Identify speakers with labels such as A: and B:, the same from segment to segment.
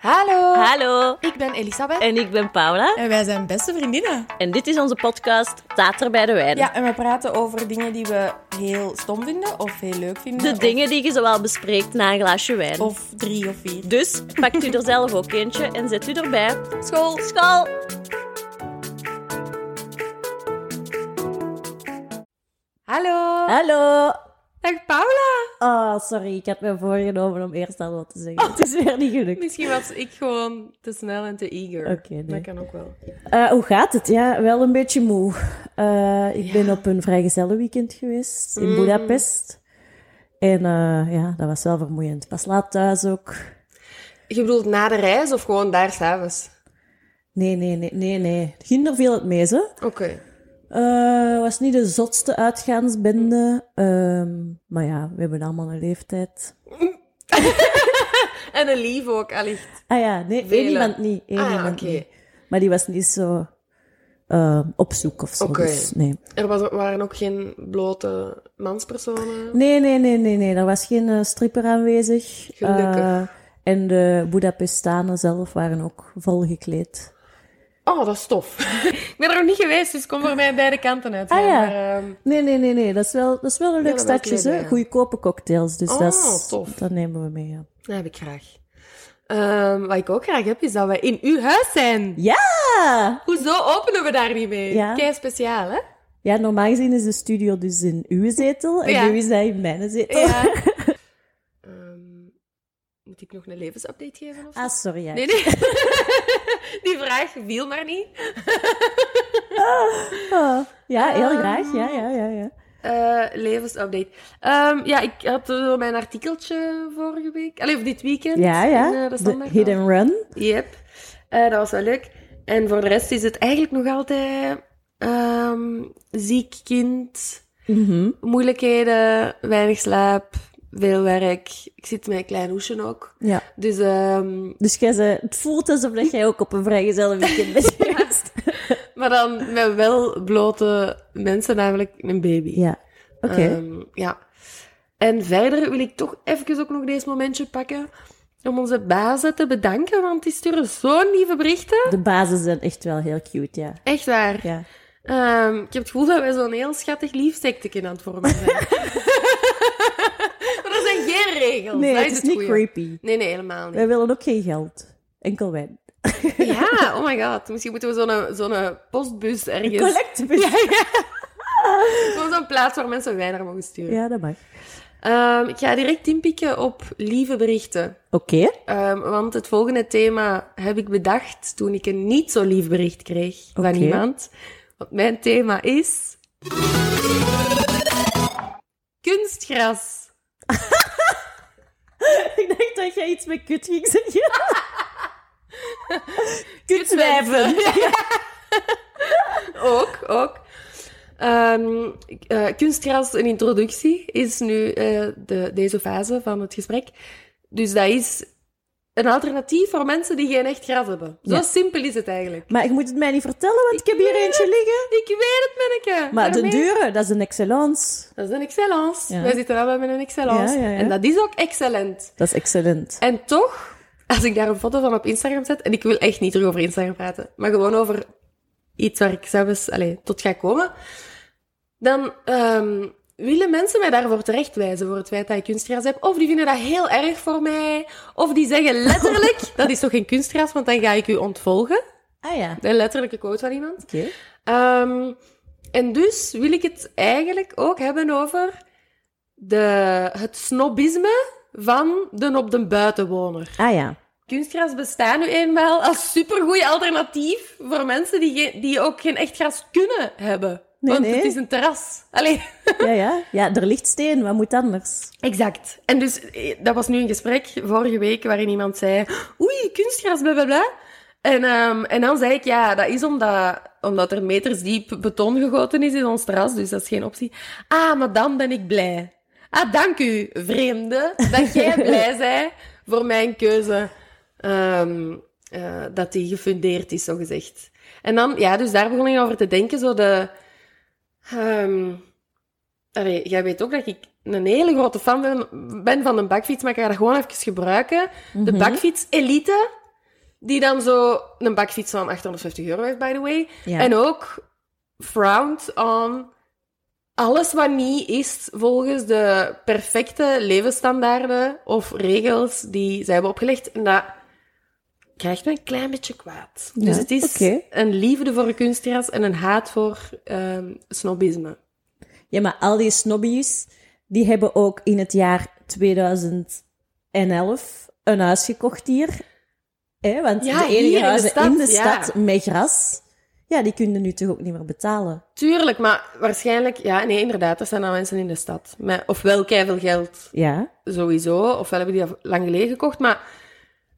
A: Hallo.
B: Hallo,
A: Ik ben Elisabeth.
B: en ik ben Paula.
A: En wij zijn beste vriendinnen.
B: En dit is onze podcast Tater bij de Wijn.
A: Ja, en we praten over dingen die we heel stom vinden of heel leuk vinden.
B: De
A: of-
B: dingen die je zowel bespreekt na een glaasje wijn.
A: Of drie of vier.
B: Dus pakt u er zelf ook eentje en zet u erbij.
A: School.
B: School!
A: Hallo.
B: Hallo!
A: Dag Paula.
B: Oh, sorry, ik had me voorgenomen om eerst al wat te zeggen. Het is weer niet gelukt.
A: Misschien was ik gewoon te snel en te eager.
B: Oké, nee.
A: Dat kan ook wel.
B: Eh, hoe gaat het? Ja, wel een beetje moe. Eh, ik ben op een vrijgezellenweekend geweest in Budapest. En eh, ja, dat was wel vermoeiend. Was laat thuis ook.
C: Je bedoelt na de reis of gewoon daar s'avonds?
B: Nee, nee, nee, nee, nee. Ginder viel het mee, hè?
C: Oké.
B: Eh was niet de zotste uitgaansbende. Ehm, maar ja, we hebben allemaal een leeftijd.
C: En een lief ook, allicht.
B: Ah ja, nee, één
C: Vele.
B: iemand niet. Één
C: Ah,
B: iemand
C: oké.
B: niet. Maar die was niet zo ehm, op zoek of zo.
C: Oké.
B: Dus nee.
C: Er was, waren ook geen blote manspersonen.
B: nee, nee, nee, nee, nee. Er was geen eh, stripper aanwezig.
C: Gelukkig.
B: Eh, en de Boedapestanen zelf waren ook vol gekleed.
C: Oh, dat is tof. ik ben er nog niet geweest, dus kom voor mij beide kanten uit.
B: Ah, ja.
C: Maar, ehm,
B: Nee, nee, nee, nee. Dat is wel, dat is wel een leuk
C: dat wel
B: stadje,
C: kleden,
B: hè?
C: ja.
B: Goedkope cocktails. Dus
C: Oh,
B: dat, is-
C: tof.
B: dat nemen we mee, ja.
C: dat heb ik graag. Ehm, wat ik ook graag heb, is dat wij in uw huis zijn. Ah!
B: Ja!
C: Hoezo openen we daar niet mee?
B: Ja.
C: Kei speciaal, hè?
B: Ja, normaal gezien is de studio dus in uw zetel en
C: Ja.
B: nu is hij in mijn zetel.
C: Ja. Ehm, moet ik nog een levensupdate geven? Of zo?
B: Ah, sorry. Ja.
C: Nee, nee. Die vraag viel maar niet.
B: Ah, ja, heel
C: Ehm,
B: graag. Ja, ja, ja, ja.
C: Eh, levensupdate. Ehm, ja, ik had eh, mijn artikeltje vorige week. Allee, of dit weekend.
B: Ja,
C: In, eh,
B: ja.
C: de
B: De
C: Standaard.
B: hit and run.
C: Yep. Eh, dat was wel leuk. En voor de rest is het eigenlijk nog altijd ehm, ziek kind,
B: Mhm.
C: moeilijkheden, weinig slaap, veel werk. Ik zit met een klein hoesje ook.
B: Ja.
C: Dus ehm,
B: Dus jij zei, het voelt alsof dat jij ook op een vrijgezellig weekend bent geweest.
C: maar dan met wel blote mensen, namelijk een baby.
B: Ja. Oké.
C: Ehm, ja. En verder wil ik toch even ook nog deze momentje pakken om onze bazen te bedanken, want die sturen zo'n lieve berichten.
B: De bazen zijn echt wel heel cute, ja.
C: Echt waar.
B: Ja.
C: Ehm, ik heb het gevoel dat wij zo'n heel schattig liefsecteken aan het vormen zijn. maar er zijn geen regels.
B: Nee,
C: dat
B: het is
C: het
B: niet
C: goeie.
B: creepy.
C: Nee, nee, helemaal niet.
B: Wij willen ook geen geld. Enkel wijn.
C: Ja, oh my god. Misschien moeten we zo'n zo'n postbus ergens...
B: Collectebus. Ja.
C: Gewoon Zo'n plaats waar mensen wijn naar mogen sturen.
B: dat mag.
C: Ehm, ik ga direct inpikken op lieve berichten.
B: Oké.
C: Ehm, want het volgende thema heb ik bedacht toen ik een niet zo lief bericht kreeg
B: Oké.
C: van iemand. Want mijn thema is. Kunstgras.
B: Ik dacht dat jij iets met kut ging zeggen. Kutzwijven.
C: Ook, ook. Ehm, eh, kunstgras, een introductie, is nu eh, de, deze fase van het gesprek. Dus dat is een alternatief voor mensen die geen echt gras hebben. Zo
B: Ja.
C: simpel is het eigenlijk.
B: Maar je moet het mij niet vertellen, want ik heb hier eentje liggen.
C: Ik weet het, manneke.
B: Maar de
C: Daarmee-
B: dure, dat is een excellence.
C: Dat is een excellence.
B: Ja.
C: Wij zitten allemaal met een excellence.
B: Ja, ja, ja.
C: En dat is ook excellent.
B: Dat is excellent.
C: En toch, als ik daar een foto van op Instagram zet, en ik wil echt niet terug over Instagram praten, maar gewoon over iets waar ik zelfs allee, tot ga komen, dan ehm, willen mensen mij daarvoor terechtwijzen, voor het feit dat ik kunstgras heb. Of die vinden dat heel erg voor mij, of die zeggen letterlijk, dat is toch geen kunstgras, want dan ga ik u ontvolgen.
B: Ah ja.
C: De letterlijke quote van iemand.
B: Oké.
C: Ehm, en dus wil ik het eigenlijk ook hebben over de, het snobisme van de op de buitenwoner.
B: Ah ja.
C: Kunstgras bestaat nu eenmaal als supergoed alternatief voor mensen die, geen- die ook geen echt gras kunnen hebben.
B: Nee,
C: Want
B: nee.
C: het is een terras. Allee.
B: Ja, ja. Ja, er ligt steen. Wat moet anders?
C: Exact. En dus, eh, dat was nu een gesprek vorige week waarin iemand zei: Oei, kunstgras, bla bla bla. En, ehm, en dan zei ik: Ja, dat is omdat, omdat er meters diep beton gegoten is in ons terras, dus dat is geen optie. Ah, maar dan ben ik blij. Ah, dank u, vreemde, dat jij blij bent voor mijn keuze. ehm, eh, dat die gefundeerd is, zogezegd. En dan, ja, dus daar begon ik over te denken, zo de. ehm, Allee, jij weet ook dat ik een hele
B: Mhm.
C: grote fan ben, ben van een bakfiets, maar ik ga dat gewoon even gebruiken. De bakfiets Elite Die dan zo een bakfiets van 850 euro heeft, by the way.
B: Ja.
C: En ook frowned on alles wat niet is volgens de perfecte levensstandaarden of regels die zij hebben opgelegd. En dat krijgt me een klein beetje kwaad. Dus
B: Ja,
C: het is
B: oké.
C: een liefde voor een kunstgras en een haat voor ehm snobisme.
B: Ja, maar al die snobbies, die hebben ook in het jaar 2011 een huis gekocht hier. hè? want
C: Ja,
B: de
C: hier
B: enige
C: in de
B: huizen
C: stad,
B: in de
C: ja.
B: stad met gras, ja, die kunnen nu toch ook niet meer betalen.
C: Tuurlijk, maar waarschijnlijk... Ja, nee, inderdaad, er zijn dan mensen in de stad. Met ofwel keiveel geld
B: Ja,
C: sowieso, ofwel hebben die dat lang geleden gekocht. Maar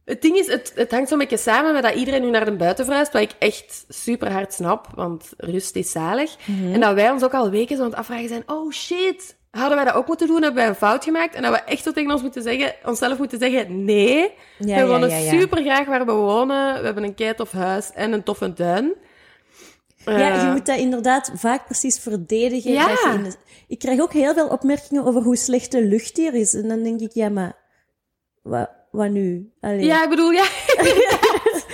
C: het ding is, het, het hangt zo'n beetje samen met dat iedereen nu naar de buiten verhuist, wat ik echt super hard snap, want rust is zalig.
B: Mhm.
C: En dat wij ons ook al weken zo aan het afvragen zijn, oh shit, hadden wij dat ook moeten doen? Hebben wij een fout gemaakt? En dat we echt zo tegen ons moeten zeggen, onszelf moeten zeggen, nee, we
B: Ja, ja,
C: wonen
B: ja, ja.
C: super graag waar we wonen, we hebben een keitof huis en een toffe tuin.
B: ja je
C: Eh,
B: moet dat inderdaad vaak precies verdedigen.
C: Ja.
B: dat je in de- Ik krijg ook heel veel opmerkingen over hoe slecht de lucht hier is. En dan denk ik, ja, maar wat, wat nu? Allee.
C: Ja, ik bedoel, ja. inderdaad.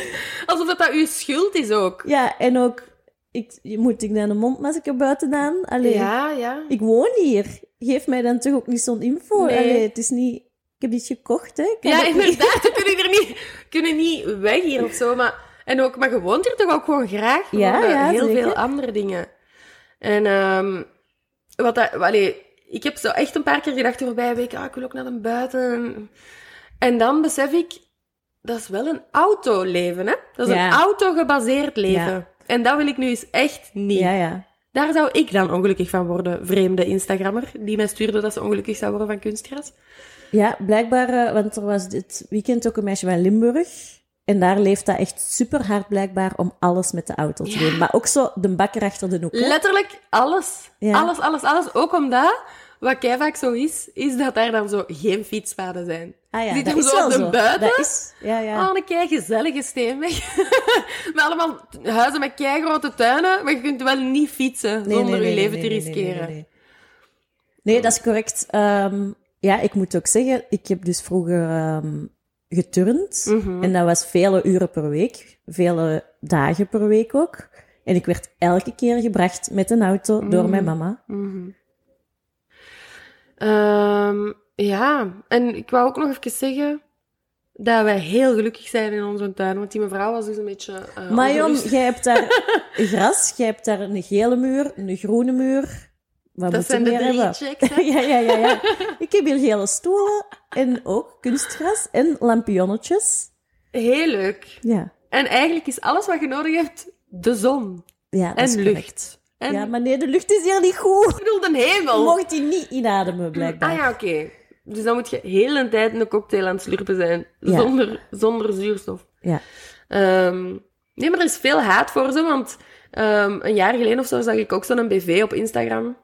C: Alsof dat, dat uw schuld is ook.
B: Ja, en ook, ik, moet ik dan een mondmasker buiten aan? Allee.
C: Ja, ja.
B: ik woon hier. Geef mij dan toch ook niet zo'n info.
C: Nee.
B: Allee, het is niet... Ik heb dit gekocht, hè. Ik kan
C: Ja,
B: dat niet-
C: inderdaad. We kunnen er niet, kunnen niet weg hier of zo. Maar, en ook, maar je woont hier toch ook gewoon graag?
B: Ja,
C: Gewoon, eh,
B: ja,
C: Heel
B: zeker.
C: veel andere dingen. En ehm, wat dat... Allee, ik heb zo echt een paar keer gedacht de voorbije weken, ah, ik wil ook naar de buiten. En dan besef ik, dat is wel een autoleven, hè? Dat is
B: Ja.
C: een autogebaseerd leven.
B: Ja.
C: En dat wil ik nu eens echt niet.
B: Ja, ja.
C: Daar zou ik dan ongelukkig van worden, vreemde Instagrammer, die mij stuurde dat ze ongelukkig zou worden van kunstgras.
B: Ja, blijkbaar, eh, want er was dit weekend ook een meisje van Limburg. En daar leeft dat echt super hard blijkbaar om alles met de auto te
C: Ja.
B: doen. Maar ook zo de bakker achter de hoek. hè.
C: Letterlijk alles.
B: Ja.
C: Alles, alles, alles. Ook omdat, wat kei vaak zo is, is dat daar dan zo geen fietspaden zijn.
B: Ah ja,
C: Die
B: dat
C: doen
B: is
C: zo
B: wel
C: op de
B: zo.
C: buiten.
B: Dat is, ja, ja.
C: Oh, een kei gezellige steenweg. met allemaal t- huizen met kei grote tuinen, maar je kunt wel niet fietsen
B: Nee,
C: zonder
B: nee, nee,
C: je leven
B: nee,
C: te
B: nee, nee, nee,
C: riskeren.
B: Nee, nee. Nee, dat is correct. Ehm, ja, ik moet ook zeggen, ik heb dus vroeger ehm geturnd.
C: Mhm.
B: En dat was vele uren per week, vele dagen per week ook. En ik werd elke keer gebracht met een auto door
C: Mm.
B: mijn mama.
C: Mhm. Ehm, ja, en ik wou ook nog even zeggen dat wij heel gelukkig zijn in onze tuin, want die mevrouw was dus een beetje... eh,
B: maar Jon,
C: ongerust.
B: jij hebt daar gras, jij hebt daar een gele muur, een groene muur. Wat
C: dat
B: moet je
C: zijn de
B: meer
C: drie
B: hebben?
C: checks, hè?
B: ja, ja, ja, ja. Ik heb hier gele stoelen en ook kunstgras en lampionnetjes.
C: Heel leuk.
B: Ja,
C: En eigenlijk is alles wat je nodig hebt de zon
B: ja dat
C: en
B: is
C: lucht.
B: correct.
C: En
B: Ja, maar nee, de lucht is hier niet goed.
C: ik bedoel de hemel.
B: Je mocht die niet inademen, blijkbaar.
C: Ah ja, oké. Dus dan moet je heel de tijd een cocktail aan het slurpen zijn.
B: Ja.
C: Zonder, zonder zuurstof.
B: Ja.
C: Ehm, nee, maar er is veel haat voor ze. Want ehm, een jaar geleden of zo zag ik ook zo'n BV op Instagram.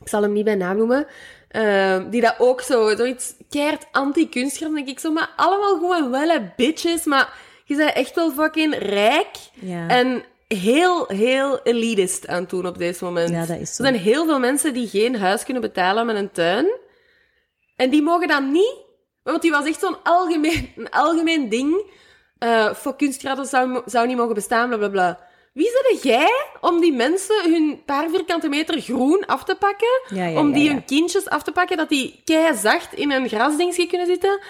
C: Ik zal hem niet bij naam noemen. ehm, die dat ook zo, zoiets keert anti-kunstgras. denk ik zo, maar allemaal gewoon wel hè, bitches. Maar je bent echt wel fucking rijk.
B: Ja.
C: En heel, heel elitist aan het doen op deze moment.
B: Ja, dat is zo.
C: Er zijn heel veel mensen die geen huis kunnen betalen met een tuin. En die mogen dat niet. Want die was echt zo'n algemeen, een algemeen ding. eh voor kunstgratis zou, zou niet mogen bestaan, bla bla bla. Wie zijn jij om die mensen hun paar vierkante meter groen af te pakken?
B: Ja, ja,
C: om
B: ja,
C: die
B: ja.
C: hun kindjes af te pakken, dat die zacht in een grasdingetje kunnen zitten?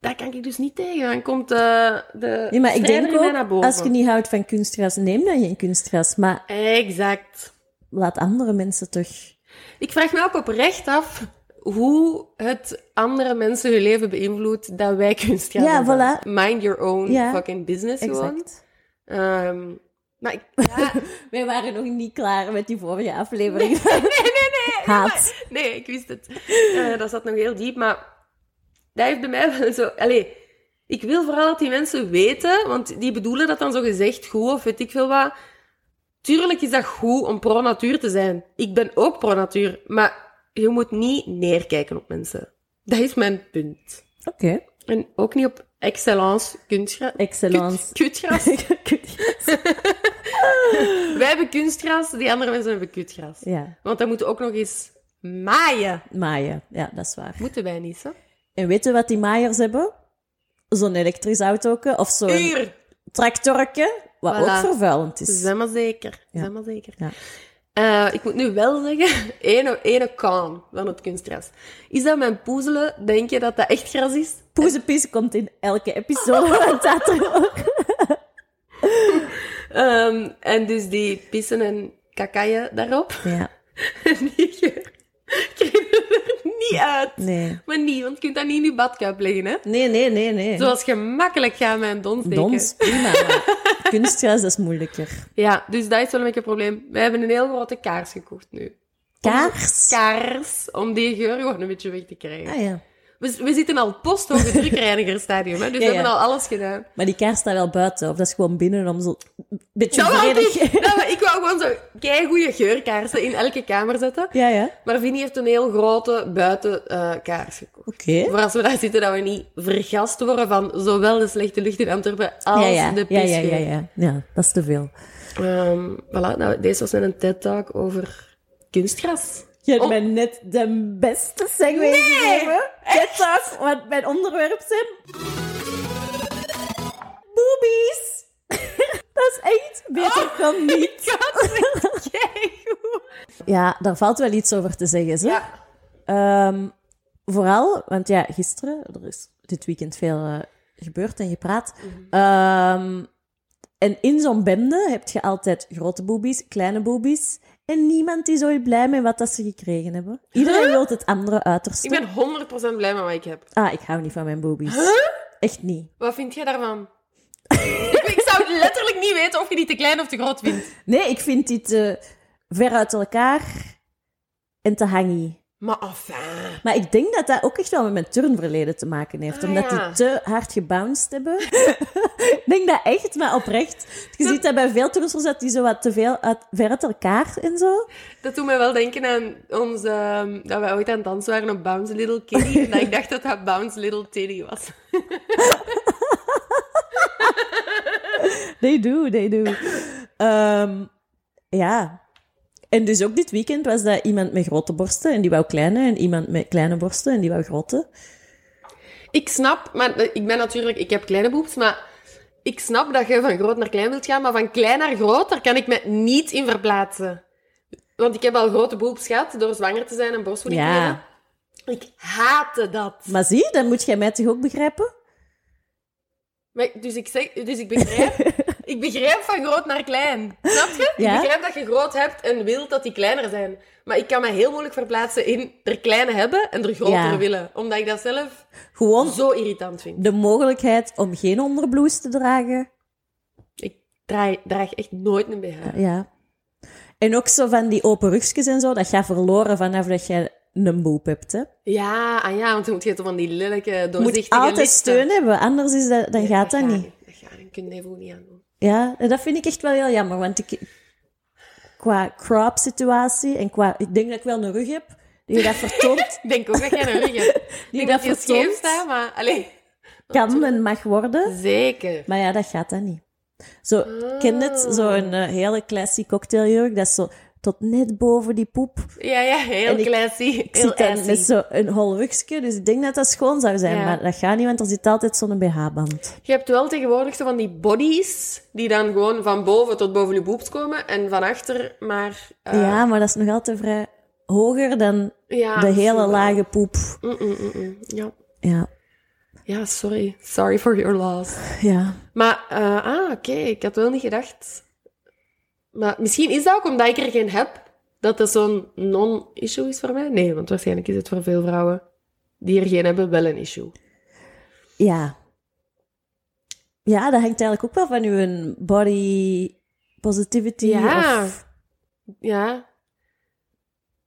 C: Daar kan ik dus niet tegen. Dan komt eh, de
B: Ja, maar ik
C: strijder
B: denk
C: in mij naar
B: ook,
C: boven.
B: als je niet houdt van kunstgras, neem dan geen kunstgras. Maar
C: Exact.
B: laat andere mensen toch...
C: Ik vraag me ook oprecht af hoe het andere mensen hun leven beïnvloedt dat wij kunst gaan
B: Ja,
C: doen.
B: voilà.
C: Mind your own
B: Ja,
C: fucking business gewoon.
B: Exact.
C: Ehm, maar ik, ja,
B: Wij waren nog niet klaar met die vorige aflevering. Nee, nee, nee. Haat.
C: nee, ik wist het. Eh, dat zat nog heel diep, maar dat heeft bij mij wel zo... Allee, ik wil vooral dat die mensen weten, want die bedoelen dat dan zo gezegd goed of weet ik veel wat. Tuurlijk is dat goed om pro-natuur te zijn. Ik ben ook pro-natuur, maar je moet niet neerkijken op mensen. Dat is mijn punt.
B: Oké,
C: En ook niet op excellence kunstgras.
B: excellence.
C: Kutgras. Wij hebben kunstgras, die andere mensen hebben kutgras.
B: ja,
C: Want dan moeten we ook nog eens maaien.
B: maaien. Ja, dat is waar.
C: Moeten wij niet, hè?
B: En weet je wat die maaiers hebben? zo'n elektrisch autoke of zo'n
C: Uur!
B: tractorke, wat
C: Voilà.
B: ook vervuilend is.
C: Zeg maar zeker.
B: Ja.
C: Zeg maar zeker.
B: Ja.
C: Eh, ik moet nu wel zeggen, ene, ene kan van het kunstgras. Is dat mijn poezelen? Denk je dat dat echt gras is?
B: Poezepies komt in elke episode van Tater.
C: Ehm, en dus die pissen en kakaien daarop.
B: Ja,
C: En die geur krijgen we er niet uit.
B: nee.
C: Maar niet, want je kunt dat niet in je badkuip leggen, hè?
B: Nee, nee, nee, nee.
C: Zoals gemakkelijk gaan mijn dons denken.
B: Dons, prima. maar Kunstgras, dat is moeilijker.
C: Ja, dus dat is wel een beetje een probleem. We hebben een heel grote kaars gekocht nu.
B: Kaars?
C: Kaars, om die geur gewoon een beetje weg te krijgen.
B: Ah ja.
C: We, we zitten al post op het drukreinigerstadium, hè? Dus
B: Ja,
C: we hebben al
B: ja.
C: alles gedaan.
B: Maar die kaars staat wel buiten, of dat is gewoon binnen om zo... Een beetje
C: Dat wou
B: vredig...
C: ik. Dat wou- nou, ik wou gewoon zo goede geurkaarsen in elke kamer zetten.
B: Ja, ja.
C: Maar Vinnie heeft een heel grote buitenkaars kaars gekocht.
B: Oké.
C: Voor als we daar zitten, dat we niet vergast worden van zowel de slechte lucht in Antwerpen als
B: Ja, ja.
C: de
B: Ja,
C: pisgeur.
B: ja, ja, ja. Ja, dat is te veel.
C: Ehm, voilà, nou, deze was net een TED-talk over kunstgras.
B: Je hebt
C: Oh.
B: mij net de beste segue gegeven. Get af wat mijn onderwerp zijn. Boobies. dat is echt beter dan niet. Ja, daar valt wel iets over te zeggen, zeg.
C: Ja.
B: Ehm, vooral, want ja, gisteren, er is dit weekend veel eh, gebeurd en gepraat. Ehm, en in zo'n bende heb je altijd grote boobies, kleine boobies. En niemand is ooit blij met wat dat ze gekregen hebben. Iedereen wil het andere uiterste.
C: Ik ben 100% blij met wat ik heb.
B: Ah, ik hou niet van mijn boobies. Echt niet.
C: Wat vind jij daarvan? ik, ik zou letterlijk niet weten of je die te klein of te groot vindt.
B: Nee, ik vind die te ver uit elkaar en te hangy.
C: Maar enfin.
B: Maar ik denk dat dat ook echt wel met mijn turnverleden te maken heeft.
C: Ah,
B: omdat
C: ja.
B: die te hard gebounced hebben. ik denk dat echt, maar oprecht. Je ziet dat bij veel turnsters dat die zo wat te veel uit, ver uit elkaar en zo.
C: Dat doet mij wel denken aan ons... ehm, dat wij ooit aan het dansen waren op Bounce Little Kitty. en dat ik dacht dat dat Bounce Little Titty was.
B: They do, they do. Ehm, ja. En dus ook dit weekend was dat iemand met grote borsten en die wou kleine. En iemand met kleine borsten en die wou grote.
C: Ik snap, maar eh, ik ben natuurlijk... Ik heb kleine boobs, maar... Ik snap dat je van groot naar klein wilt gaan, maar van klein naar groot, daar kan ik me niet in verplaatsen. Want ik heb al grote boobs gehad door zwanger te zijn en borstvoeding te
B: Ja.
C: geven. Ik haatte dat.
B: Maar zie, dan moet jij mij toch ook begrijpen?
C: Maar, dus, ik zeg, dus ik begrijp... ik begrijp van groot naar klein. Snap je?
B: Ja.
C: Ik begrijp dat je groot hebt en wilt dat die kleiner zijn. Maar ik kan me heel moeilijk verplaatsen in er kleine hebben en er grotere
B: Ja.
C: willen. Omdat ik dat zelf
B: Gewoon
C: zo irritant vind.
B: de mogelijkheid om geen onderblouse te dragen.
C: Ik draai, draag echt nooit een BH.
B: Ja. En ook zo van die open rugjes en zo, dat gaat verloren vanaf dat jij een boep hebt. Hè.
C: Ja, ah ja, want dan moet je toch van die lelijke,
B: Je moet
C: doorzichtige
B: altijd
C: listen.
B: steun hebben, anders is dat, dan
C: Nee,
B: gaat dat
C: ga
B: niet.
C: Dat gaat niet. kun je even niet aan doen.
B: Ja, en dat vind ik echt wel heel jammer, want ik, qua crop-situatie en qua... Ik denk dat ik wel een rug heb, die dat vertoont,
C: Ik denk ook dat jij een rug hebt. Ik
B: die
C: denk
B: dat
C: dat je scheef
B: vertoont
C: staat, maar... Allee.
B: kan en mag worden.
C: Zeker.
B: Maar ja, dat gaat dat niet. Zo, ken je het?
C: Ah.
B: Zo'n eh, hele classy cocktailjurk, dat is zo tot net boven die poep.
C: Ja, ja, heel
B: En ik-
C: classy.
B: Ik
C: heel
B: zit dan
C: assy.
B: met zo'n hol rugje, dus ik denk dat dat schoon zou zijn.
C: Ja.
B: Maar dat gaat niet, want er zit altijd zo'n BH-band.
C: Je hebt wel tegenwoordig zo van die bodies, die dan gewoon van boven tot boven je boobs komen en van achter maar... eh,
B: ja, maar dat is nog altijd vrij hoger dan
C: ja,
B: de hele
C: misschien Ah, wel.
B: lage poep.
C: Mm, mm, mm, mm. Ja.
B: Ja,
C: ja, sorry. Sorry for your loss.
B: ja.
C: Maar, eh, ah, oké, ik had wel niet gedacht. Maar misschien is dat ook omdat ik er geen heb, dat dat zo'n non-issue is voor mij. Nee, want waarschijnlijk is het voor veel vrouwen die er geen hebben wel een issue.
B: ja. Ja, dat hangt eigenlijk ook wel van uw body positivity.
C: Ja.
B: Of,
C: Ja.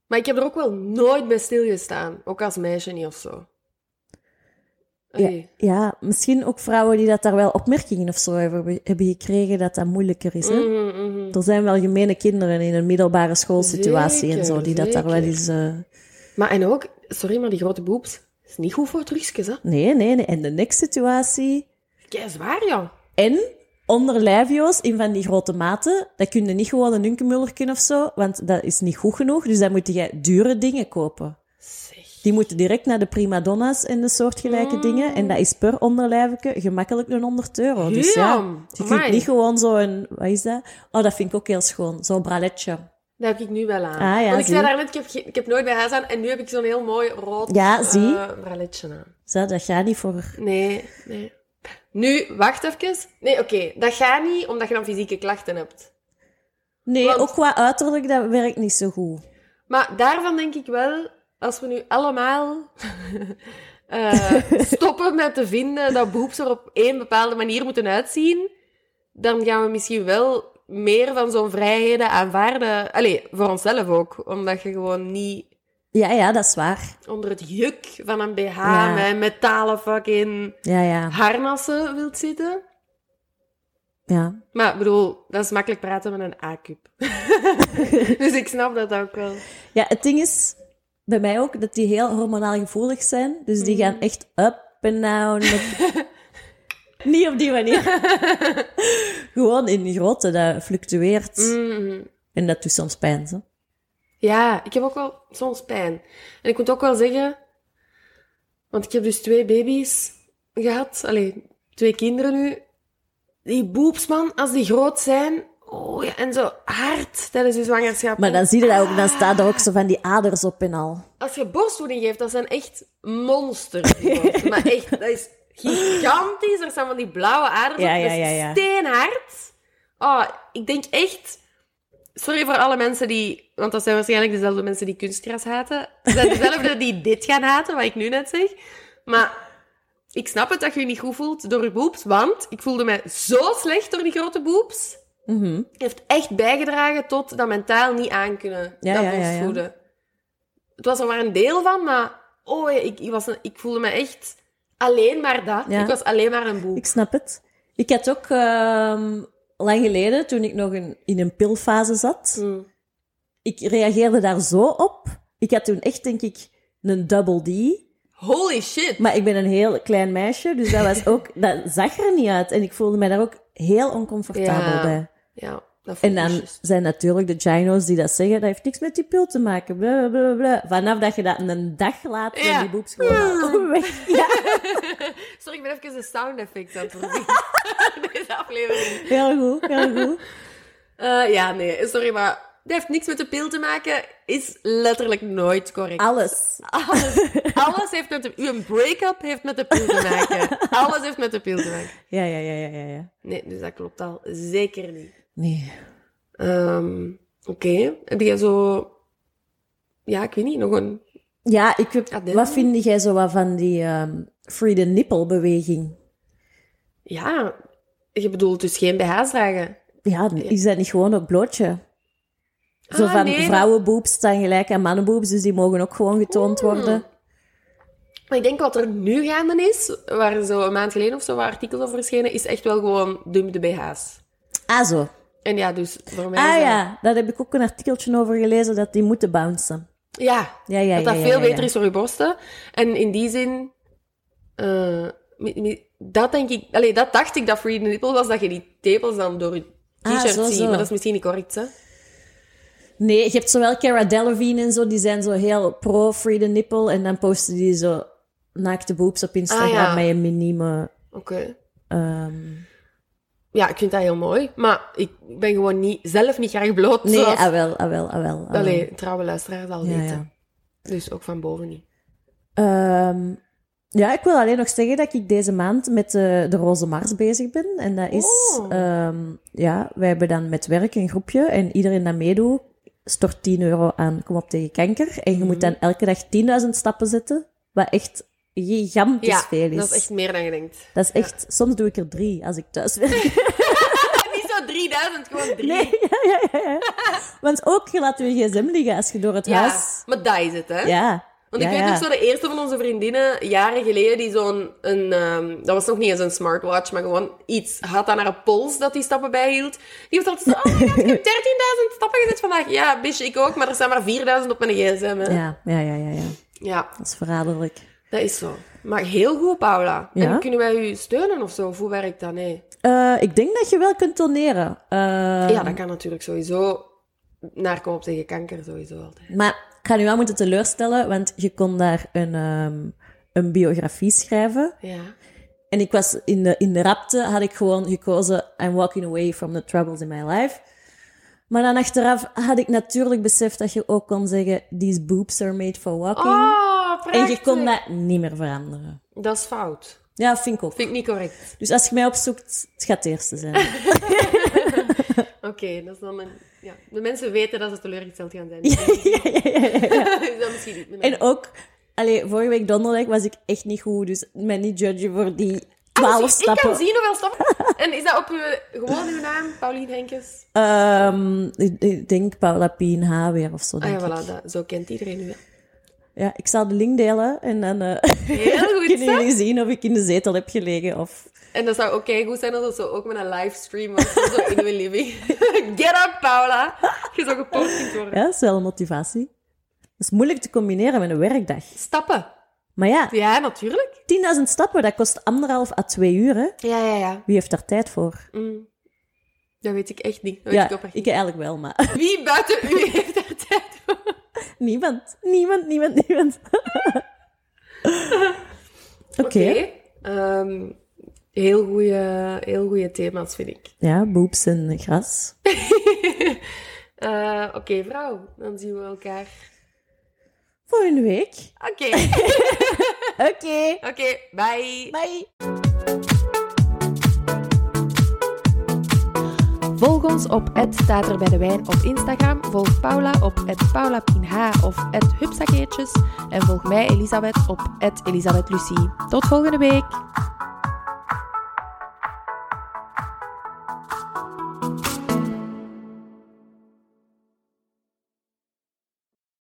C: Maar ik heb er ook wel nooit bij stilgestaan. Ook als meisje niet of zo.
B: ja,
C: Oké.
B: ja, misschien ook vrouwen die dat daar wel opmerkingen of zo hebben, hebben gekregen, dat dat moeilijker is. Hè?
C: Mhm, mhm.
B: Er zijn wel gemene kinderen in een middelbare schoolsituatie en zo,
C: Zeker,
B: die dat daar wel
C: zeker.
B: eens... eh,
C: Maar en ook, sorry, maar die grote boobs, is niet goed voor drugsjes, hè?
B: Nee, nee, nee. En de neksituatie.
C: Kei zwaar, ja.
B: En onderlijfjo's in van die grote maten. Dat kun je niet gewoon een hunkenmullerken of zo, want dat is niet goed genoeg. Dus dan moet je dure dingen kopen.
C: Zeg.
B: Die moeten direct naar de primadonna's en de
C: Mm.
B: soortgelijke dingen. En dat is per onderlijfje gemakkelijk een 100 euro. Dus ja,
C: Damn.
B: je kunt
C: Amai.
B: niet gewoon zo'n... Wat is dat? Oh, dat vind ik ook heel schoon. Zo'n braletje.
C: Dat heb ik nu wel aan.
B: Ah, ja,
C: Want ik zei
B: zie.
C: daarnet, ik heb, ge- ik heb nooit bij huis aan en nu heb ik zo'n heel mooi rood
B: Ja, zie.
C: eh, braletje aan.
B: Zo, dat gaat niet voor...
C: Nee, nee. Nu, wacht even. Nee, oké, dat gaat niet omdat je dan fysieke klachten hebt.
B: Nee,
C: Want-
B: ook qua uiterlijk, dat werkt niet zo goed.
C: Maar daarvan denk ik wel, als we nu allemaal eh, stoppen met te vinden dat boobs er op één bepaalde manier moeten uitzien, dan gaan we misschien wel meer van zo'n vrijheden aanvaarden. Allee, voor onszelf ook. Omdat je gewoon niet
B: Ja, ja, dat is waar.
C: onder het juk van een BH
B: Ja.
C: met metalen fucking
B: Ja, ja,
C: harnassen wilt zitten.
B: ja.
C: Maar ik bedoel, dat is makkelijk praten met een A-cup. dus ik snap dat ook wel.
B: Ja, het ding is bij mij ook dat die heel hormonaal gevoelig zijn. Dus die gaan echt up en down. met- Niet op die manier. Gewoon in die grootte, dat fluctueert.
C: Mhm.
B: En dat doet soms pijn. Zo.
C: Ja, ik heb ook wel soms pijn. En ik moet ook wel zeggen, want ik heb dus twee baby's gehad, alleen twee kinderen nu. Die boobs, man, als die groot zijn, oh ja, en zo hard tijdens je zwangerschap.
B: Maar dan zie je dat ook, dan staan er ook zo van die aders op en al.
C: Als je borstvoeding geeft, dat zijn echt monsters. maar echt, dat is gigantisch. Er staan van die blauwe aders
B: Ja,
C: op.
B: ja,
C: dat is
B: ja, ja.
C: steenhard. Oh, ik denk echt... Sorry voor alle mensen die... Want dat zijn waarschijnlijk dezelfde mensen die kunstgras haten. Dat zijn dezelfde die dit gaan haten, wat ik nu net zeg. Maar ik snap het dat je je niet goed voelt door je boobs. Want ik voelde mij zo slecht door die grote boobs.
B: Mhm.
C: heeft echt bijgedragen tot dat mentaal niet aankunnen.
B: Ja,
C: dat
B: ja, ja, ja.
C: borstvoeden. Het was er maar een deel van, maar oh, ik, ik, was een- ik voelde me echt alleen maar dat.
B: Ja.
C: Ik was alleen maar een boek.
B: Ik snap het. Ik had ook ehm, lang geleden, toen ik nog in, in een pilfase zat,
C: Mm.
B: ik reageerde daar zo op. Ik had toen echt, denk ik, een double D.
C: Holy shit!
B: Maar ik ben een heel klein meisje, dus dat, was ook, dat zag er niet uit. En ik voelde me daar ook heel oncomfortabel
C: Ja.
B: bij.
C: Ja, dat voel
B: En
C: ik
B: dan
C: juist.
B: zijn natuurlijk de gyno's die dat zeggen, dat heeft niks met die pil te maken. Bla, bla, bla, bla. Vanaf dat je dat een dag later
C: Ja.
B: in die boeps gewoon weg. Ja,
C: Sorry, ik ben even een sound effect aan het voorzien. Deze aflevering.
B: heel goed, heel goed.
C: Eh, ja, nee, sorry, maar dat heeft niks met de pil te maken. Is letterlijk nooit correct.
B: Alles.
C: Alles, alles heeft met de... Uw break-up heeft met de pil te maken. Alles heeft met de pil te maken.
B: Ja, ja, ja, ja, ja. ja.
C: Nee, dus dat klopt al zeker niet.
B: Nee.
C: Ehm, Oké, heb jij zo... Ja, ik weet niet, nog een...
B: Ja, ik heb,
C: Adele?
B: wat vind jij zo wat van die ehm, free the nipple beweging?
C: Ja, je bedoelt dus geen BH's dragen.
B: Ja, is dat niet gewoon ook blootje? Zo
C: Ah,
B: van
C: nee, dat-
B: vrouwenboobs staan gelijk aan mannenboobs, dus die mogen ook gewoon getoond
C: Mm.
B: worden.
C: Maar ik denk wat er nu gaande is, waar zo een maand geleden of zo wat artikels over verschenen, is echt wel gewoon dump de BH's.
B: Ah, zo.
C: En ja, dus voor mij... is
B: Ah
C: dat-
B: ja, daar heb ik ook een artikeltje over gelezen, dat die moeten bouncen.
C: Ja,
B: Ja, ja,
C: dat
B: ja,
C: dat
B: ja,
C: veel
B: ja, ja.
C: beter is voor je borsten. En in die zin... eh, mi- mi- dat denk ik... Allee, dat dacht ik dat free the nipple was, dat je die tepels dan door je
B: Ah,
C: t-shirt
B: zo,
C: ziet.
B: zo.
C: Maar dat is misschien niet correct, hè?
B: Nee, je hebt zowel Cara Delevingne en zo, die zijn zo heel pro free the nipple. En dan posten die zo naakte boobs op Instagram
C: Ah, ja.
B: met een minieme...
C: Oké.
B: ehm,
C: Ja, ik vind dat heel mooi. Maar ik ben gewoon niet, zelf niet graag bloot.
B: Nee,
C: zoals...
B: ah wel, ah wel, ah wel. ah wel.
C: Allee, trouwe luisteraars al
B: Ja,
C: weten.
B: ja.
C: Dus ook van boven niet.
B: Ehm, ja, ik wil alleen nog zeggen dat ik deze maand met de, de Roze Mars bezig ben. En dat is,
C: Oh.
B: ehm, ja, wij hebben dan met werk een groepje en iedereen dat meedoet stort 10 euro aan Kom op tegen kanker. En je moet
C: Mhm.
B: dan elke dag 10.000 stappen zetten, wat echt gigantisch
C: ja,
B: veel is.
C: dat is echt meer dan je denkt.
B: Dat is echt- soms doe ik er drie als ik thuis werk.
C: niet zo 3000, gewoon drie.
B: Nee, ja, ja, ja, ja. Want ook, je laat je gsm liggen als je door het
C: ja,
B: huis...
C: maar dat is het, hè?
B: Ja.
C: Want ik
B: ja,
C: weet
B: ja.
C: nog zo, de eerste van onze vriendinnen, jaren geleden, die zo'n... Een, ehm, dat was nog niet eens een smartwatch, maar gewoon iets had aan haar pols dat die stappen bijhield. Die was altijd zo, oh my god, ik heb 13.000 stappen gezet vandaag. Ja, bitch, ik ook, maar er staan maar 4.000 op mijn gsm, hè.
B: Ja, ja, ja, ja, ja.
C: ja.
B: Dat is verraderlijk.
C: Dat is zo. Maar heel goed, Paula.
B: Ja?
C: En kunnen wij u steunen of zo? Of hoe werkt dat? Nee.
B: Eh, ik denk dat je wel kunt toneren. Eh,
C: ja, dat kan natuurlijk sowieso. Naar kom op tegen kanker sowieso altijd.
B: Maar Ik ga nu wel moeten teleurstellen, want je kon daar een, ehm, een biografie schrijven.
C: Ja.
B: En ik was in de, in de rapte, had ik gewoon gekozen, I'm walking away from the troubles in my life. Maar dan achteraf had ik natuurlijk beseft dat je ook kon zeggen, these boobs are made for walking.
C: Oh,
B: en
C: prachtig.
B: je kon dat niet meer veranderen.
C: Dat is fout.
B: Ja, vind ik ook.
C: Vind ik niet correct.
B: Dus als je mij opzoekt, het gaat het eerste zijn.
C: Oké, dat is dan mijn... Ja. De mensen weten dat ze teleurgesteld gaan zijn.
B: ja, ja, ja, ja, ja.
C: Is dat misschien niet.
B: En ook, allee, vorige week donderdag was ik echt niet goed, dus mij niet judgen voor die twaalf
C: Ah, dus Ik
B: stappen.
C: kan zien hoeveel stappen. En is dat op uw, gewoon uw naam, Paulien Henkes?
B: Ehm, ik, ik denk Paula Pien H weer of zo.
C: Ah
B: Denk
C: ja,
B: ik.
C: voilà, dat, zo kent iedereen u. hè.
B: Ja, ik zal de link delen en dan eh,
C: Heel goed,
B: kunnen
C: zeg.
B: jullie zien of ik in de zetel heb gelegen. Of...
C: En dat zou oké goed zijn als dat zo ook met een livestream was, zo in uw living. Get up, Paula! Je zou gepost kunt worden.
B: Ja, dat is wel een motivatie. Dat is moeilijk te combineren met een werkdag.
C: Stappen.
B: Maar ja,
C: Ja, natuurlijk.
B: 10.000 stappen, dat kost anderhalf à twee uur. Hè.
C: Ja, ja, ja.
B: Wie heeft daar tijd voor?
C: Mm. Dat weet ik echt niet. Dat weet
B: Ja,
C: ik oprecht
B: ik
C: niet.
B: eigenlijk wel, maar
C: Wie buiten u heeft daar tijd voor?
B: niemand. Niemand, niemand, niemand. Oké.
C: Ehm, heel goede heel goeie thema's, vind ik.
B: Ja, boobs en gras.
C: Eh, Oké, vrouw. Dan zien we elkaar.
B: Volgende week.
C: Oké.
B: Oké.
C: Oké, bye.
B: Bye.
C: Volg ons op het staat er bij de wijn op Instagram. Volg Paula op het Paula Pinha of het Hupsakeertjes. En volg mij, Elisabeth, op het Elisabeth Lucie. Tot volgende week.